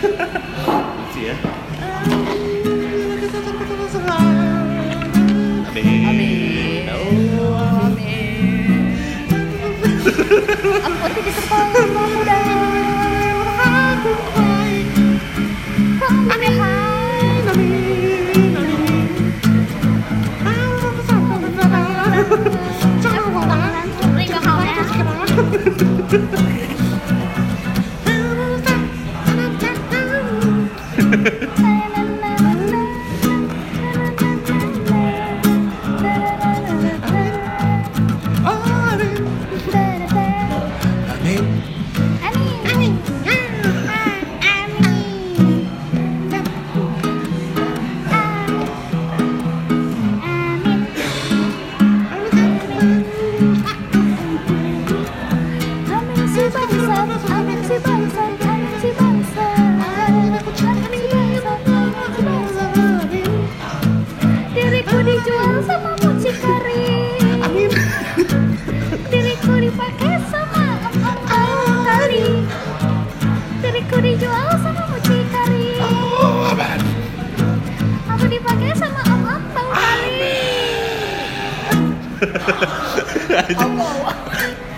Lucu ya. Amin. Amin. Oh. Aku tidak sepatah pemuda. Pemulihan. Jangan curi kehausan. Amin. Diriku dijual sama mochi kering Amin. Diriku dipakai sama om-om kari Diriku dijual sama mochi kari Oh, aman. Aku dipakai sama om-om tau kari Anjing. Om-om